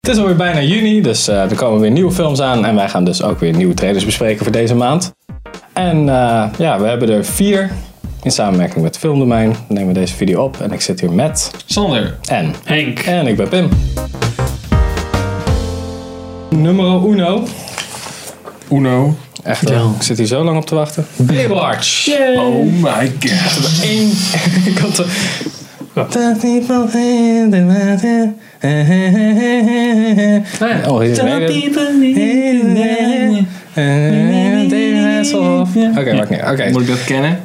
Het is alweer bijna juni, dus eh, er komen weer nieuwe films aan. En wij gaan dus ook weer nieuwe trailers bespreken voor deze maand. En eh, ja, we hebben er vier. In samenwerking met Filmdomein nemen we deze video op. En ik zit hier met Sander. en Henk. En ik ben Pim. Nummer uno. Uno. Echt, eh, ik zit hier zo lang op te wachten. Baywatch. Oh my god. Eén. ik had er. Dat niet wel vinden wat er- Oh, hier is Nederland. Oké, maakt niet. Oké. Moet ik dat kennen?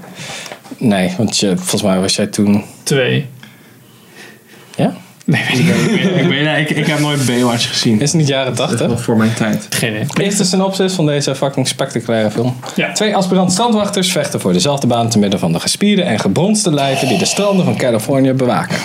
Nee, want je, volgens mij was jij toen. Twee. Ja? Nee, weet ik niet. ik, weet, ik, ik heb nooit Baywatch gezien. Is het niet jaren Dat is 80? nog voor mijn tijd. Geen idee. Eerste synopsis van deze fucking spectaculaire film. Ja. Twee aspirant strandwachters vechten voor dezelfde baan te midden van de gespierde en gebronste lijven die de stranden van Californië bewaken.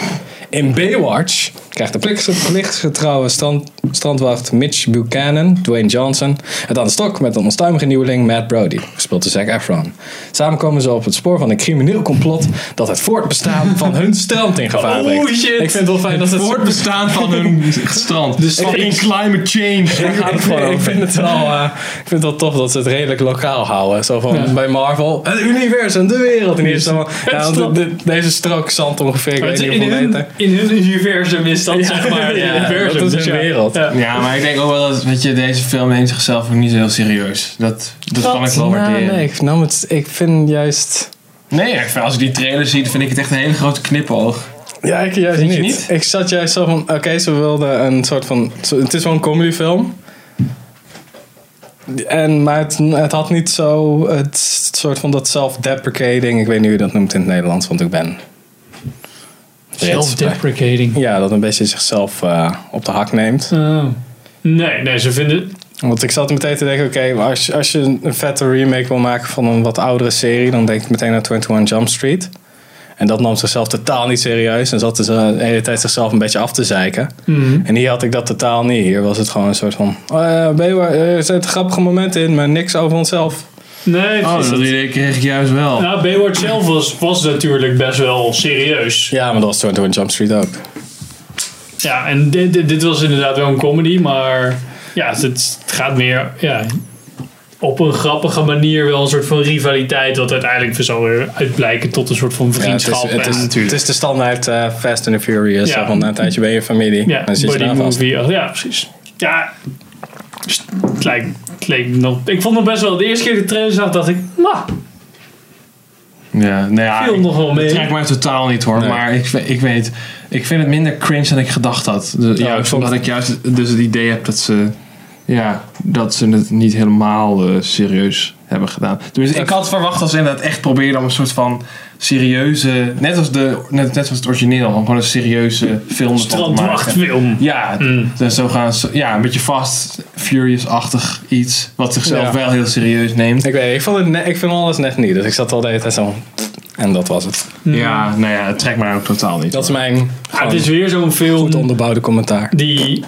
In Baywatch krijgt de plicht- plichtgetrouwe strand, strandwacht Mitch Buchanan, Dwayne Johnson, het aan de stok met een onstuimige nieuweling Matt Brody, gespeeld door Zac Efron. Samen komen ze op het spoor van een crimineel complot dat het voortbestaan van hun strand in gevaar brengt. Oh, shit. Ik vind het wel fijn dat het Voor het bestaan van hun strand. Dus ik- in climate change. Daar Ik, gaat ik, vind, het gewoon ik over. vind het wel, eh, ik vind het wel tof dat ze het redelijk lokaal houden. Zo van bij Marvel, het universum, de wereld. En hier is dan, ja, want strand. de- de- deze strook zand ongeveer, ik Maar weet het is niet in, hoeveel hun, meter. in hun universum is dat zeg maar. het ja, universum, dat is dus hun ja. wereld. Ja. Ja, maar ik denk ook wel dat weet je, deze film neemt zichzelf ook niet zo heel serieus. Dat, dat kan ik wel Nou, waarderen. nee, ik, nam het, ik vind juist... Nee, ik vind- als ik die trailer zie, dan vind ik het echt een hele grote knipoog. Ja, ik juist Vind niet. je niet? Ik zat juist zo van, oké, ze wilden een soort van... zo- Het is wel een comedyfilm. En, maar het, het had niet zo het soort van dat self-deprecating. Ik weet niet hoe je dat noemt in het Nederlands, want ik ben... Self-deprecating. Ja, dat een beetje zichzelf eh, op de hak neemt. Oh. Nee, nee, ze vinden. Want ik zat meteen te denken, oké, maar als, als je een vette remake wil maken van een wat oudere serie, dan denk ik meteen aan 21 Jump Street. En dat nam zichzelf totaal niet serieus en zat dus eh, de hele tijd zichzelf een beetje af te zeiken. Mhm. En hier had ik dat totaal niet. Hier was het gewoon een soort van, oh ja, ben je waar- er zitten grappige momenten in, maar niks over onszelf. Nee, Oh, dat precies. idee kreeg ik juist wel. Nou, Baywatch zelf was, was natuurlijk best wel serieus. Ja, maar dat was 21 Jump Street ook. Ja, en dit, dit, dit was inderdaad wel een comedy, maar ja, het, het gaat meer ja, op een grappige manier wel een soort van rivaliteit, wat uiteindelijk weer zal weer uitblijken tot een soort van Ja, het, is, het, vriendschap. is, en, het is de standaard eh, Fast and the Furious. Ja. zo Van, na een tijdje ben je familie. ja, dan zit je buddy daar vast. movie. Ja, precies. Ja, dus het lijkt, het leek nog, ik vond het best wel, de eerste keer de trailer zag, dacht ik, nou, Ja, nou ja, viel ik- nog wel Het mee. trekt mij totaal niet hoor, Nee. maar ik, ve- ik weet, ik vind het minder cringe dan ik gedacht had. Dus Ja, ik juist vond- omdat ik juist dus het idee heb dat ze, ja, dat ze het niet helemaal eh, serieus hebben gedaan. Tenminste, ik had verwacht dat ze inderdaad echt probeerden om een soort van serieuze, net als, de, net, net als het origineel, om gewoon een serieuze film ervan te maken. Strandwachtfilm. Ja, Mm. dus zo gaan ze, ja, een beetje vast, Furious-achtig iets, wat zichzelf Ja. wel heel serieus neemt. Ik weet niet, ik, vond het ne- ik vind alles net niet. Dus ik zat al de hele tijd zo van, En dat was het. Ja, nou ja, het trekt mij ook totaal niet. Dat is mijn Ja, gewoon het is weer zo'n goed film onderbouwde commentaar. die,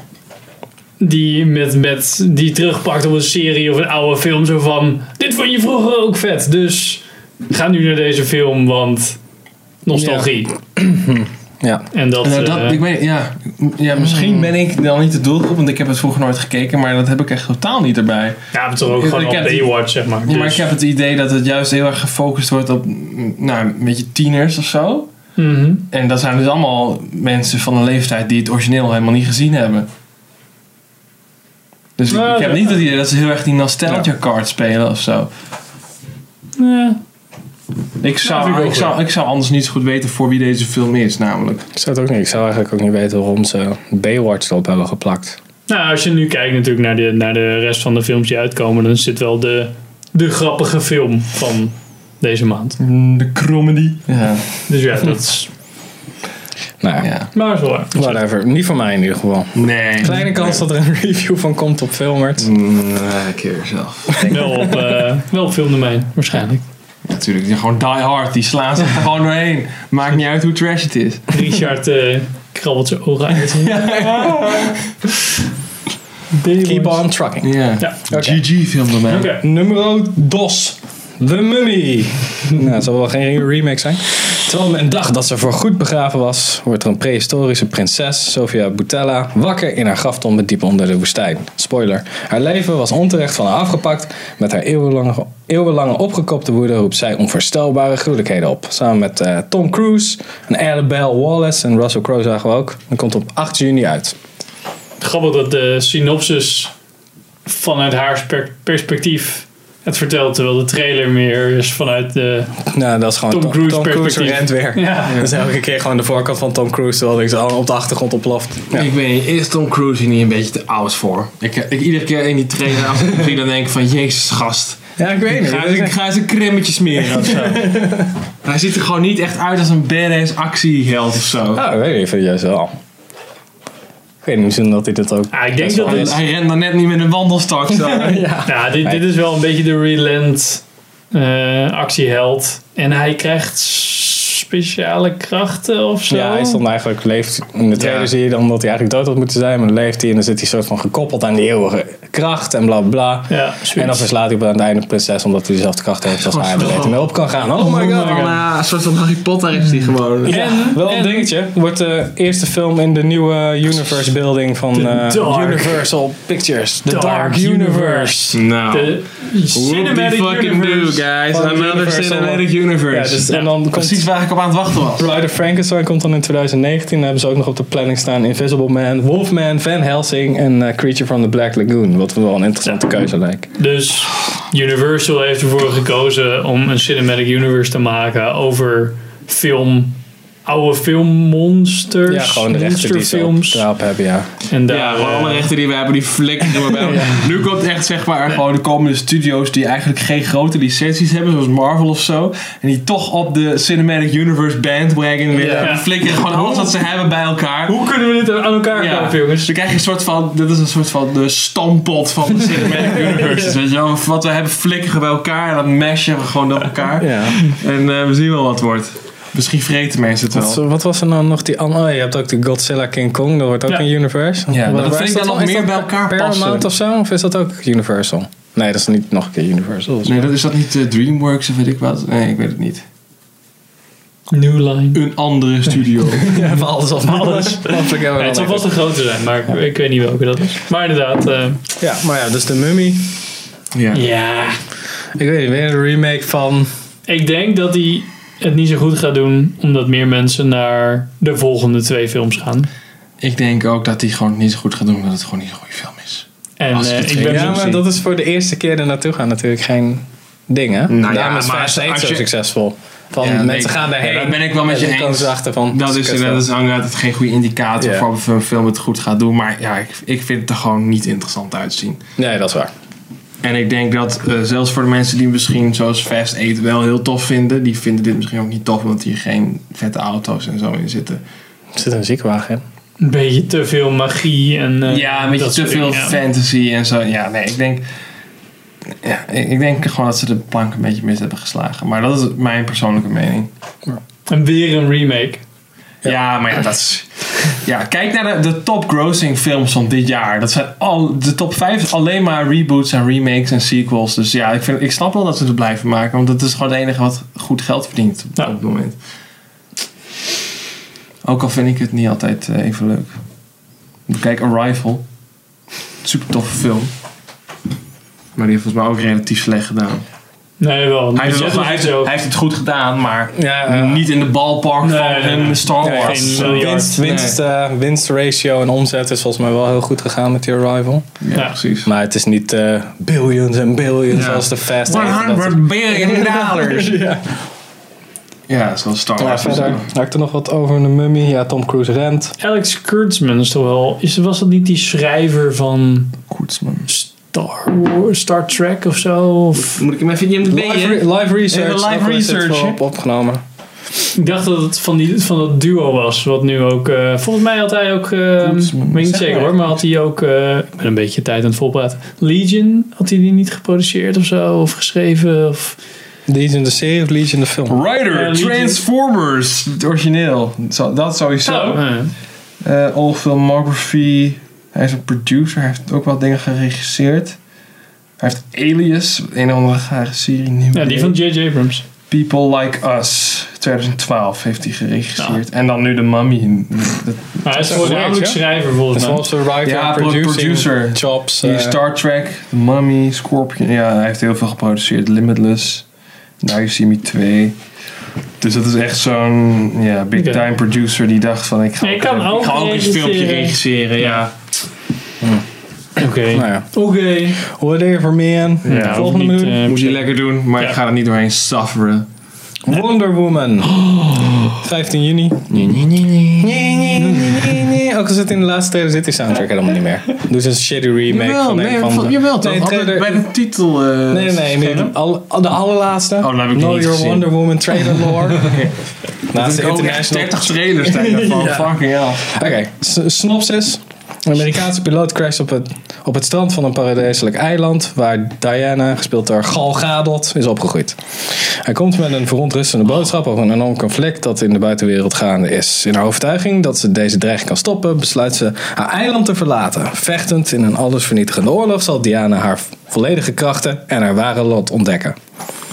die, met, met, die terugpakt op een serie of een oude film. Zo van, dit vond je vroeger ook vet, dus ga nu naar deze film, want nostalgie. Ja. En dat, Nou, dat, eh, ik weet, ja, ja, misschien ben ik dan niet de doelgroep, want ik heb het vroeger nooit gekeken, maar dat heb ik echt totaal niet erbij. ja, we toch ook ik- gewoon ik op heb die- Baywatch, zeg maar. Maar Dus- ik heb het idee dat het juist heel erg gefocust wordt op mm, nou, een beetje tieners of zo. Mhm. En dat zijn dus allemaal mensen van een leeftijd die het origineel helemaal niet gezien hebben. Dus ik- Nou, ik heb dat- niet het idee dat ze heel erg die nostalgia card spelen of zo. Ja. Ik zou, vind ik ook ik, zou, wel. ik zou anders niet zo goed weten voor wie deze film is, namelijk. Ik zou het ook niet. Ik zou eigenlijk ook niet weten waarom ze Baywatch erop hebben geplakt. Nou, als je nu kijkt natuurlijk naar de, naar de rest van de films die uitkomen, dan zit wel de, de grappige film van deze maand. Mm, De comedy. Ja, Dus ja, dat is... Nou ja, ja. Maar zo waar. whatever. Niet voor mij in ieder geval. Nee. Kleine kans dat er een review van komt op Filmert. Mm, eh, keer zelf. Wel op, eh, wel op filmdomein, waarschijnlijk. Natuurlijk, die gewoon die hard, die slaan ze er gewoon doorheen. Maakt niet uit hoe trash het is. Richard eh, krabbelt zijn ogen uit. Baywatch. Keep on trucking. Ja. Ja. Oké. GG film dan Oké. man. Nummer dos. The Mummy. nou, het zal wel geen remake zijn. Terwijl men dacht dat ze voor goed begraven was, wordt er een prehistorische prinses, Sofia Boutella, wakker in haar graftombe diep onder de woestijn. Spoiler. Haar leven was onterecht van haar afgepakt. Met haar eeuwenlange, eeuwenlange opgekopte woede roept zij onvoorstelbare gruwelijkheden op. Samen met eh, Tom Cruise, en Annabelle Wallace en Russell Crowe zagen we ook. En komt op 8 juni uit. Grappig dat de synopsis vanuit haar spe- perspectief het vertelt, terwijl de trailer meer is vanuit de... Nou, dat is gewoon Tom Tom, Cruise Tom Cruise perspectief. rent weer. Ja. Dat is elke keer gewoon de voorkant van Tom Cruise, terwijl niks al op de achtergrond oploft. Ja. Ik weet niet, is Tom Cruise hier niet een beetje te oud voor? Ik, eh, ik iedere keer in die trainer als ik hem zie, dan denk ik van, jezus gast. Ja, ik weet Ik ga, ik ga eens een kremmetje smeren of zo. Hij ziet er gewoon niet echt uit als een badass actieheld of zo. Nou, ik weet niet, vind juist wel. Ik weet niet, misschien dat hij dat ook... Ah, ik denk best dat wel het- is. Hij rent dan net niet met een wandelstok zo. Ja. Ja, dit, dit is wel een beetje de relent eh, actieheld. En hij krijgt speciale krachten of zo. Ja, hij is dan eigenlijk leeft in de trailer Ja. zie je dan dat hij eigenlijk dood had moeten zijn, maar dan leeft hij en dan zit hij soort van gekoppeld aan die eeuwige kracht en bla bla. bla. Ja, en dan zoiets. verslaat hij op aan het einde de prinses omdat hij dezelfde kracht heeft als haar en er beter mee op kan gaan. Oh my god. eh, een soort van Harry Potter is die gewoon. Ja, En- wel een en- dingetje. Wordt de eerste film in de nieuwe universe building van eh, Dark- Universal Pictures. The Dark Dark, Universe. Universe. Nou. De What the cinematic fucking do, universe. guys? Van Another Universal. cinematic universe. Ja, dus, en Ja, dan komt Precies waar ik op aan het wachten was. Bride of Frankenstein komt dan in 2019. Dan hebben ze ook nog op de planning staan Invisible Man, Wolfman, Van Helsing en eh, Creature from the Black Lagoon. Wat wel een interessante keuze lijkt. Dus Universal heeft ervoor gekozen om een cinematic universe te maken over film, oude filmmonsters, Ja, gewoon de rechten die ze op monsterfilms. daarop hebben, ja. En daar, Ja, gewoon eh, alle rechten die we hebben, die flikken we bij. Nu komt echt zeg maar gewoon de komende studio's die eigenlijk geen grote licenties hebben, zoals Marvel of zo. En die toch op de Cinematic Universe bandwagon willen Ja. flikkeren. Gewoon alles wat ze hebben bij elkaar. hoe kunnen we dit aan elkaar Ja. kopen, jongens? Dus dan krijg je een soort van, dit is een soort van de stampot van de Cinematic Universe. Weet je wel, wat we hebben flikkeren we bij elkaar en dat meshen we gewoon door elkaar. ja. En eh, we zien wel wat het wordt. Misschien vreten mensen het wel. Wat, wat was er nou nog die andere? Oh, je hebt ook de Godzilla King Kong, dat wordt ook Ja. een Universe. Ja, Waar- dat waar vind is ik dan nog Is meer dat bij elkaar Paramount passen. of zo? Of is dat ook Universal? Nee, dat is niet nog een keer Universal. Nee, dat, is dat niet eh, DreamWorks of weet ik wat? Nee, ik weet het niet. New Line. Een andere studio. Ja, van alles of alles. Nee, het zal vast een grote zijn, maar ik- ik weet niet welke dat is. Maar inderdaad, eh, Ja, maar ja, dus de Mummy. ja. ja. Ik weet niet, weer een remake van... Ik denk dat hij het niet zo goed gaat doen, omdat meer mensen naar de volgende twee films gaan. Ik denk ook dat hij gewoon niet zo goed gaat doen, omdat het gewoon niet een goede film is. En Als eh, het ik ben twee- Ja, maar misschien. dat is voor de eerste keer er naartoe gaan natuurlijk geen ding, hè? Nou Daarom ja, is maar Fast als- Eight als zo je- succesvol. Van Ja, mensen nee, gaan daarheen. daar ben ik wel met en je dan komen eens. ze achter van, Dat is, kutfilm. dat is inderdaad het geen goede indicator Ja. voor of een film het goed gaat doen. Maar ja, ik, ik vind het er gewoon niet interessant uitzien. Nee, dat is waar. En ik denk dat eh, zelfs voor de mensen die misschien zoals Fast 8 wel heel tof vinden, die vinden dit misschien ook niet tof, omdat hier geen vette auto's en zo in zitten. Er zit een ziekenwagen in. een beetje te veel magie en eh, ja, een beetje dat te soort veel dingen, ja. fantasy en zo. Ja, nee, ik denk. Ja, ik ik denk gewoon dat ze de plank een beetje mis hebben geslagen. Maar dat is mijn persoonlijke mening. En weer een remake. Ja, maar ja, dat is... Ja, kijk naar de, de top grossing films van dit jaar. Dat zijn al, de top 5 is alleen maar reboots en remakes en sequels. Dus ja, ik, vind, ik snap wel dat ze het blijven maken. Want dat is gewoon het enige wat goed geld verdient op, Ja. op het moment. Ook al vind ik het niet altijd eh, even leuk. Kijk, Arrival. Super toffe film. Maar die heeft volgens mij ook relatief slecht gedaan. Nee, wel. Hij heeft, Die het, ook- hij heeft- hij heeft het goed gedaan, maar Ja, niet in de ballpark Nee, van nee, een nee. Star Nee, Wars. geen miljard. Oh, winst, winst, eh, winstratio en omzet is volgens mij wel heel goed gegaan met die Arrival. Ja, Ja. precies. Maar het is niet eh, billions en billions Ja. als de Fast Eight en dat- billion dollars. Ja. Ja, zoals Star Ja, Wars. en zo. verder had ik er nog wat over de mummy. Ja, Tom Cruise rent. Alex Kurtzman is toch wel... Is, was dat niet die schrijver van Koetsman. Star, Wars- Star Trek of zo? Of, Moet ik hem even in de Live, re- live research. Even live ook al is dit research, wel hè? op opgenomen. ik dacht dat het van, die, van dat duo was, wat nu ook... eh, volgens mij had hij ook... eh, Kurtzman. ik weet niet Zeg zeker maar. hoor, maar had hij ook... eh, ik ben een beetje tijd aan het volpraten. Legion, had hij die niet geproduceerd of zo? Of geschreven? Of, Legion de serie of Legion de film? Rider, Eh, Transformers, het origineel. Zo- Dat sowieso. Oh, eh. Eh, all filmography. Hij is een producer, hij heeft ook wel dingen geregisseerd. Hij heeft Alias, een of andere gare serie. nieuw ja, die van J.J. Abrams. People Like Us 2012 heeft hij geregisseerd. En dan nu de Mummy. Dat- Maar hij is Dat is voornamelijk correct, ja? schrijver volgens mij. Zoals de writer, Ja, pro- producing, producer. jobs. Die eh, Star Trek, The Mummy, Scorpion. Ja, hij heeft heel veel geproduceerd. Limitless, Now You See Me 2. Dus dat is echt zo'n ja, big Oké. time producer die dacht van ik ga Ik ook, kan een- ook ik ga ook een regisseren. filmpje regisseren. Ja. Oké. nou ja. Oké. Whatever man. Ja, Volgende hoeft niet, minuut. eh, Moet je lekker doen, maar Ja. ik ga er niet doorheen sufferen. Wonder Woman. 15 juni. Nee, nee, nee, nee, nee. Ook al zit in de laatste trailer zit die soundtrack helemaal niet meer. Dus een shitty remake van een van de... nee, trailer- bij de titel. eh, Nee, nee, nee. De, alle- de allerlaatste. Oh, dat heb ik Know nog niet Your gezien. Wonder Woman trailer lore. Naast de Er komen echt international... 30 trailers tegen van fucking hell. Oké, s- synopsis. Een Amerikaanse piloot crasht op het, op het strand van een paradijselijk eiland... waar Diana, gespeeld door Gal Gadot, is opgegroeid. Hij komt met een verontrustende boodschap over een enorm conflict... dat in de buitenwereld gaande is. In haar overtuiging dat ze deze dreiging kan stoppen... besluit ze haar eiland te verlaten. Vechtend in een allesvernietigende oorlog... zal Diana haar volledige krachten en haar ware lot ontdekken.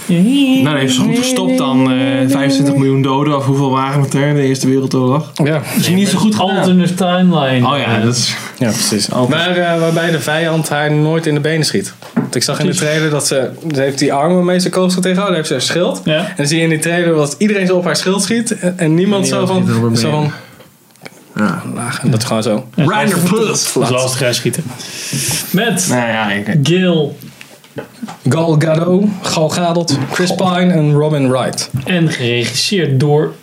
Nou, dan heeft ze goed gestopt dan. eh, 25 miljoen doden, of hoeveel waren het er in de Eerste Wereldoorlog? Ja, Is niet zo goed gedaan. Alternate timeline. Oh ja, dat is... ja precies. Maar eh, waarbij de vijand haar nooit in de benen schiet. Want ik zag in de trailer dat ze... Ze heeft die armen mee zijn koops tegenhouden. heeft ze haar schild. Ja. En dan zie je in die trailer dat iedereen zo op haar schild schiet. En, en niemand zo niemand schiet van... erop Zo mee. van Ja. laag. En dat is gewoon zo. Reiner Plus! Dat is lastig uitschieten. Met Nou ja, ik... Gil Gal Gadot, Gal Gadot, Chris Pine en Robin Wright. en geregisseerd door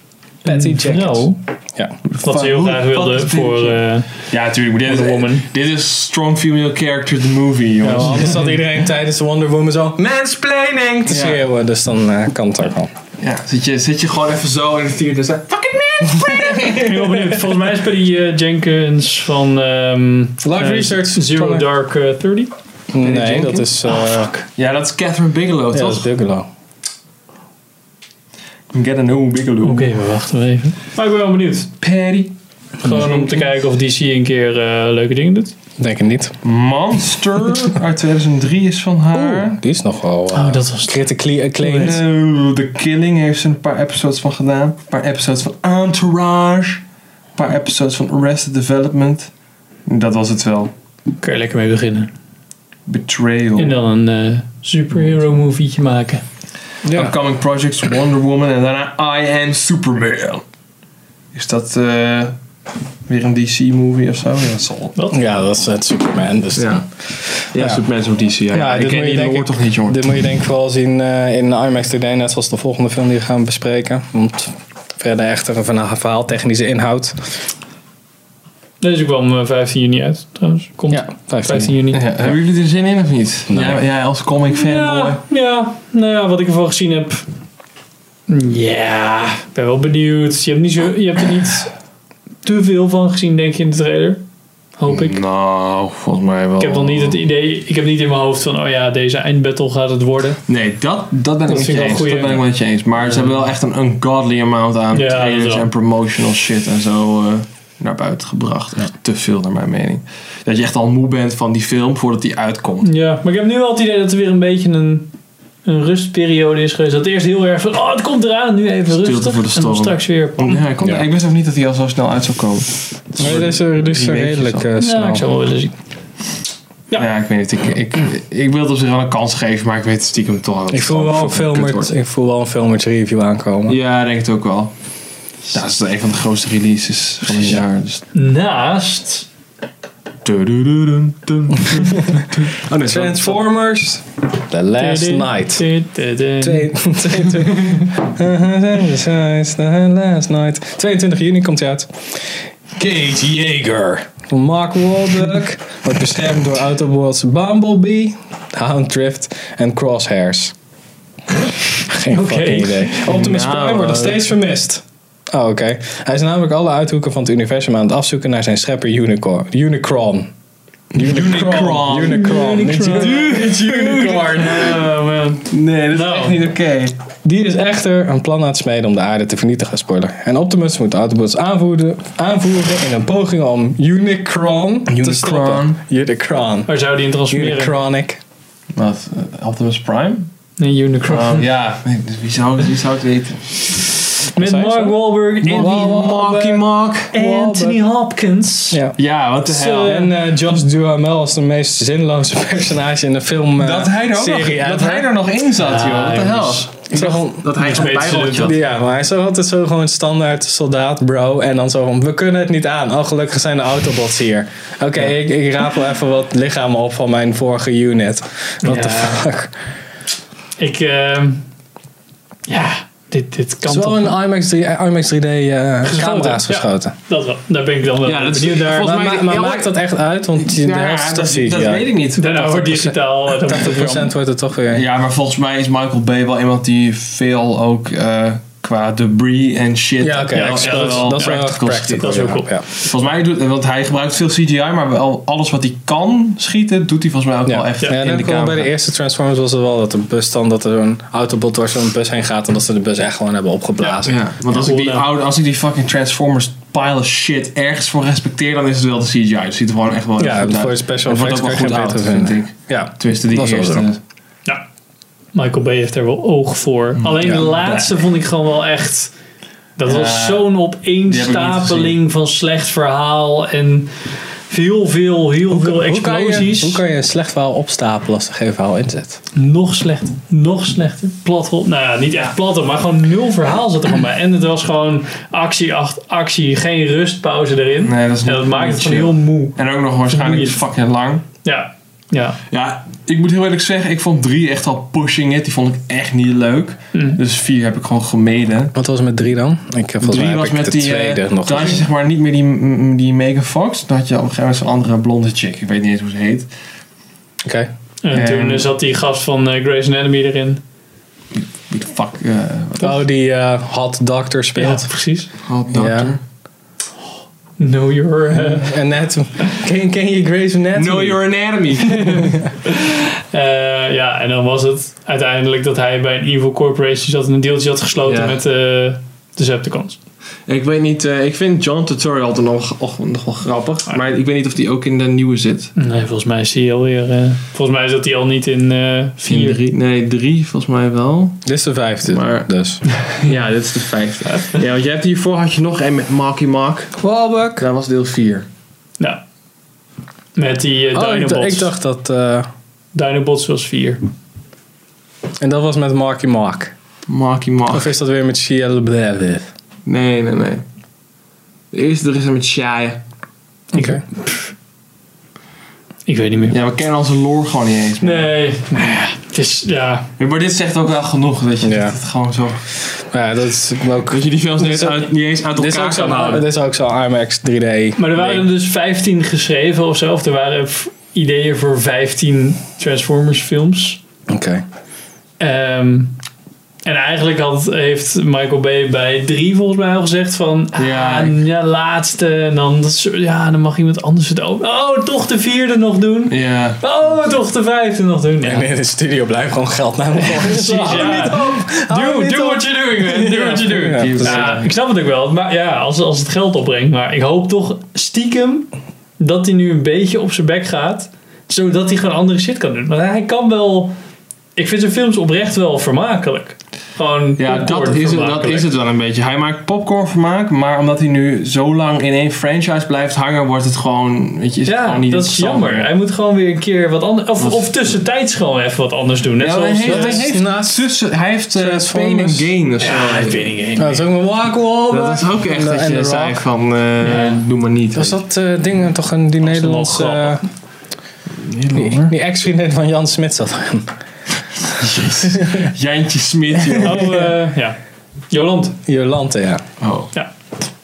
Patty een Jenkins. vrouw. Ja. Wat ze heel Hoe graag fuck wilde Mm, nou. is voor... dit? eh, Ja, natuurlijk. Dit, Wonder Woman. is- dit is strong female character the Ja, movie, jongens. want anders had Oh, iedereen tijdens de Wonder Woman zo... Mansplaining! Te Ja. schreeuwen. Dus dan eh, kan het ook wel. Ja, zit je, zit je gewoon even zo in de theater en zeg... Fucking Ik ben heel benieuwd. Volgens mij is bij die eh, Jenkins van ehm, Live eh, Research. Zero Van- Dark eh, Thirty. Nee, dat Jenkins? Oh, is... eh Ja, dat is Catherine Bigelow, ja, dat is toch? Bigelow. Get a new Bigelow. Oké, we wachten even. Maar ik ben wel benieuwd. Patty. Gewoon om te kijken of DC een keer eh, leuke dingen doet. Denk het niet. Monster uit 2003 is van haar. Die is nog wel eh, Oh, dat was- critically acclaimed. No, Eh, The Killing heeft ze een paar episodes van gedaan. Een paar episodes van Entourage. Een paar episodes van Arrested Development. Dat was het wel. Kun je lekker mee beginnen. Betrayal. En dan een eh, superhero movietje maken. Ja. Upcoming projects Wonder Woman en daarna I Am Superman. Is dat eh, weer een DC-movie of zo? Ja, dat zal. ja, dat is het Superman. Dus Ja, Ja. Superman is ook DC. Ja, dus Ja, ik dit ken moet die je denk woord ik- toch niet, jongen. Dit moet je denk ik vooral zien eh, in IMAX 3D, net zoals de volgende film die we gaan bespreken. Want verder echter een verha- verhaaltechnische inhoud. Deze kwam eh, 15 juni uit trouwens. Komt Ja, 15 15 juni. Ja, hebben jullie er zin in of niet? Ja, ja, als comic fanboy. Ja, ja, nou ja, wat ik ervan gezien heb. Ja, ik ben wel benieuwd. Je hebt, niet zo, je hebt er niet te veel van gezien, denk je, in de trailer. Hoop ik. Nou, volgens mij wel. Ik heb nog niet het idee, ik heb niet in mijn hoofd van, oh ja, deze eindbattle gaat het worden. Nee, dat, dat ben ik Dat met vind je ik wel eens. goeie. Dat ben ik wel met je eens. Maar ze hebben wel echt een ungodly amount aan Ja, dat trailers wel. en promotional shit en zo eh, naar buiten gebracht. Echt te veel naar mijn mening. Dat je echt al moe bent van die film voordat die uitkomt. Ja, maar ik heb nu wel het idee dat er weer een beetje een, een rustperiode is geweest. Dat eerst heel erg van, oh, het komt eraan, nu even Stilte rustig. voor de en dan storm. straks weer. Ja, ik, kon- Ja. ik wist ook niet dat hij al zo snel uit zou komen. Nee, deze is dus, Die weekjes redelijk al. eh, snel. Ja, ik zou wel willen zien. Ja. Ja, ik weet niet. Ik, ik, ik wil het op zich wel een kans geven, maar ik weet het stiekem toch al. dat Ik het voel, gewoon wel een fucking kut filmert, wordt. ik voel wel een filmert review aankomen. Ja, ik denk het ook wel. Dat is een van de grootste releases van het jaar. Dus... Naast Tudududum, dum. Oh, nee, zo- Transformers The Last Night. Twee- 22 Last night. 22 juni komt hij uit. Kate Jaeger. Van Mark Wahlberg. Wordt beschermd door Outer Worlds Bumblebee, Houndrift en Crosshairs. Geen Oké. fucking idee. Optimus Nou, Prime wordt nog eh. steeds vermist. Oh, oké. Hij is namelijk alle uithoeken van het universum aan het afzoeken naar zijn schepper Unicorn. Unicron. Unicron. Unicron. Unicron. Dude, Unicorn. Oh, man. Nee, dat is Nou. echt niet oké. Die is echter een plan aan het smeden om de aarde te vernietigen, spoiler. En Optimus moet Autobots aanvoeren, aanvoeren in een poging om Unicron, te Unicron. stoppen. Unicron. Waar zou die in transformeren? Unicronic. Wat? eh, Optimus Prime? Nee, Unicron. Oh, ja, nee, dus wie, zou, wie zou het weten? Met zei je Mark zo? Wahlberg en Marky Mark. Anthony Hopkins. Ja. Ja, wat de Zo. hel. En eh Josh Duhamel als de meest zinloze personage in de film. eh, Dat hij, er ook nog, serie dat uit, hij hè? er nog in zat, Ja, joh. Wat de hel. jongens. Ik zag gewoon- Dat hij Niks zo'n beter te bijrolletje doen had. Ja, maar hij zag altijd zo gewoon standaard soldaat bro. En dan zo van, we kunnen het niet aan. Oh, gelukkig zijn de Autobots hier. Oké, ik, ik rapel even wat lichamen op van mijn vorige unit. What Ja. the fuck. Ik, ehm, ja, dit, dit Het kan is wel toch. een IMAX 3, IMAX 3D eh, camera's ja. geschoten. Dat wel. Daar ben ik dan wel Ja, dat is- benieuwd naar. volgens Maar, mij- maar, maar ja, maakt dat echt uit? Want de Ja, helft dat, is CGI. dat weet ik niet. Daarna wordt digitaal. eh, dan wordt het 80% wordt het toch weer. Ja, maar volgens mij is Michael Bay wel iemand die veel ook eh, qua debris en shit. Ja, oké. wel- dat, wel dat, dat is wel practicals practical. Dat is wel ja. cool. Ja. Volgens mij doet, want hij gebruikt veel CGI, maar wel alles wat hij kan schieten, doet hij volgens mij ook wel echt Ja, in dat de ook wel camera. bij de eerste Transformers was het wel dat de bus dan dat er een autobot door zo'n bus heen gaat en dat ze de bus echt gewoon hebben opgeblazen. Ja, want als ik, die Holden. oude, als ik die fucking Transformers pile of shit ergens voor respecteer, dan is het wel de CGI. Het ziet er gewoon echt wel Ja, goed uit. voor de special Het wordt effects ook wel kan je goed geen oud, beter vind vinden. ik. Ja. Tenminste, die Dat is wel eerste. zo. Ja, Michael Bay heeft er wel oog voor. Alleen de Ja. laatste vond ik gewoon wel echt. Dat Ja, was zo'n opeenstapeling van slecht verhaal en heel veel, heel veel Hoe explosies. kan, je, hoe kan je een slecht verhaal opstapelen als er geen verhaal in zit? Nog slechter, nog slechter. Plat, nou ja, niet echt platte, maar gewoon nul verhaal zat er gewoon bij. En het was gewoon actie, acht, actie, geen rustpauze erin. Nee, dat is en niet- dat maakt niet het gewoon chill. heel moe. En ook nog waarschijnlijk Vermoeiend. fucking lang. Ja, ja. Ja, ik moet heel eerlijk zeggen, ik vond 3 echt al pushing it. Die vond ik echt niet leuk. Dus 4 heb ik gewoon gemeden. Wat was het met drie dan? Ik heb volgens mij 3 heb was ik de met die. tweede eh, nog dan had je gezien. zeg maar niet meer die, m- die Megan Fox. Dan had je op een gegeven moment zo'n andere blonde chick. Ik weet niet eens hoe ze heet. Oké. En En- toen eh, zat die gast van eh, Grey's Anatomy erin. Wie de fuck. eh Oh, die eh hot doctor speelt. Ja, precies. had dat Ja. er? Know your... eh, En net, ken, ken je Grey's Anatomy? Know Your Anatomy. Eh, ja, en dan was het uiteindelijk dat hij bij een evil corporation zat en een deeltje had gesloten Ja. met eh, de Decepticons. ik weet niet, eh, ik vind John Tutorial altijd nog, och, nog wel grappig. Maar ik weet niet of die ook in de nieuwe zit. Nee, volgens mij is hij alweer... eh, volgens mij zat hij al niet in eh In vier. drie, nee, 3 volgens mij wel. Dit is de vijfde, Maar- dus. Ja, dit is de vijfde. Ja, want je hebt hiervoor had je nog een met Marky Mark. Wahlberg. Dat was deel 4. Nou, met die eh, Oh, ik, dacht- Dinobots. ik dacht dat... eh, Dinobots was vier. en dat was met Marky Mark. Marky Of Mark. is dat weer met Shia LaBeouf? Nee, nee, nee. De eerste er is een met Shia. Oké. Ik weet niet meer. Ja, we kennen onze lore gewoon niet eens. Nee, nou ja, het is... Ja, Ja, Maar dit zegt ook wel genoeg, dat je Ja. dat het gewoon zo... Ja, dat is ook... Dat je die films niet Dit eens is uit, niet eens uit Dit is elkaar ook kan zo'n houden. dit is ook zo'n IMAX 3D. maar er waren Nee. er dus 15 geschreven of zo. Of er waren f- ideeën voor 15 Transformers films. Oké. Ehm, en eigenlijk had, heeft Michael Bay bij drie volgens mij al gezegd van... Ja, Ja, ah, ja laatste. En dan, dat is- ja, dan mag iemand anders het ook... Oh, toch de vierde nog doen. Ja. Oh, toch de vijfde nog doen. Ja. En in de studio blijft gewoon geld naar me Precies, ja. Hou Do, niet do op. what you're doing, man. Do what you're Ja, doing. precies. Ja, ik snap het ook wel. Maar ja, als, als het geld opbrengt. Maar ik hoop toch stiekem dat hij nu een beetje op zijn bek gaat. Zodat hij gewoon andere shit kan doen. Want hij kan wel... Ik vind zijn films oprecht wel vermakelijk. Gewoon Ja, dat popcorn is, het, dat vermakelijk. is het wel een beetje. Hij maakt popcornvermaak, maar omdat hij nu zo lang in één franchise blijft hangen, wordt het gewoon, weet je, is het Ja, gewoon niet dat is interessant jammer. meer. Hij moet gewoon weer een keer wat anders... Of, Wat- of tussentijds gewoon even wat anders doen. Net Ja, zoals... hij heeft, eh, hij heeft naast- tussen, hij heeft eh, Pain and Transformers. Gain of zo. ja, ik weet niet. ik- Dat is ook een walk-over. Dat is ook echt dat je zei van, eh, Ja. doe maar niet. Was dat eh, ding toch een, die is Nederlandse... wel eh, grappig. die die ex-vriendin van Jan Smit zat erin. Jantje Smit, joh. Oh, eh, ja. Joland. Jolante, ja. Oh.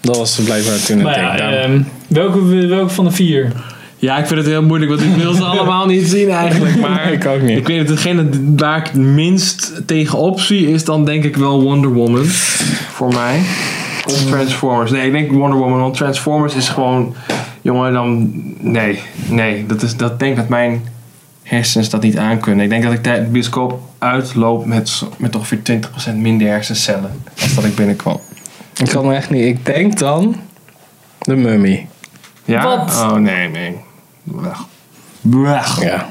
Dat was blijkbaar toen het Maar ja, ding. Daarom- ehm, welke, welke van de vier? Ja, ik vind het heel moeilijk, want ik wil ze allemaal niet zien eigenlijk. Maar ik eh, ik, ook niet. weet het, degene waar ik het minst tegenop zie is dan denk ik wel Wonder Woman. Eh. Voor mij. Of Transformers. Nee, ik denk Wonder Woman, want Transformers is gewoon... Jongen, dan... Nee, nee. Dat, is, dat denk ik dat mijn hersens dat niet aankunnen. Ik denk dat ik tijdens de bioscoop uitloop met, zo- met ongeveer 20% minder hersencellen. Als dat ik binnenkwam. Ik kan me echt niet... Ik denk dan... De mummy. Ja? Wat? Oh, nee, nee. Weg. Weg. Ja.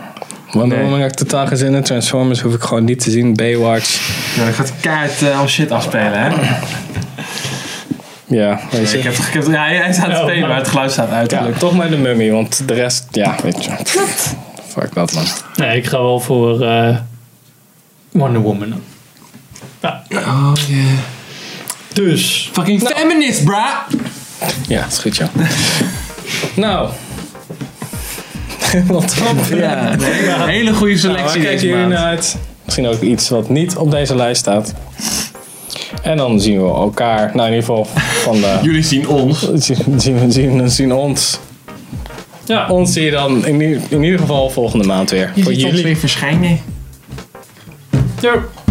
Wonder Nee. Woman heb ik totaal geen zin in. Transformers hoef ik gewoon niet te zien. Baywatch. Ja, dat gaat kaart eh, al shit afspelen, hè? Ja, weet je. Ik heb, ik heb, ja, hij hij staat te Oh, spelen, maar het geluid staat uit. ja, gelukkig. toch maar de mummy, want de rest, ja, weet je. Pff, Fuck dat man. Nee, ik ga wel voor eh, Wonder Woman. Ja. Oh, yeah. Nou. Dus, Fucking feminist, bra! Ja, is goed, ja. nou. Wat top. Ja, een hele goede Nou, waar selectie kijken deze jullie maand. naar uit? Misschien ook iets wat niet op deze lijst staat. En dan zien we elkaar, nou in ieder geval van de... Jullie zien ons. zien, zien, zien, zien ons. ja. Ons zie je dan in, i- in ieder geval volgende maand weer. Voor jullie. verschijnen. Doei.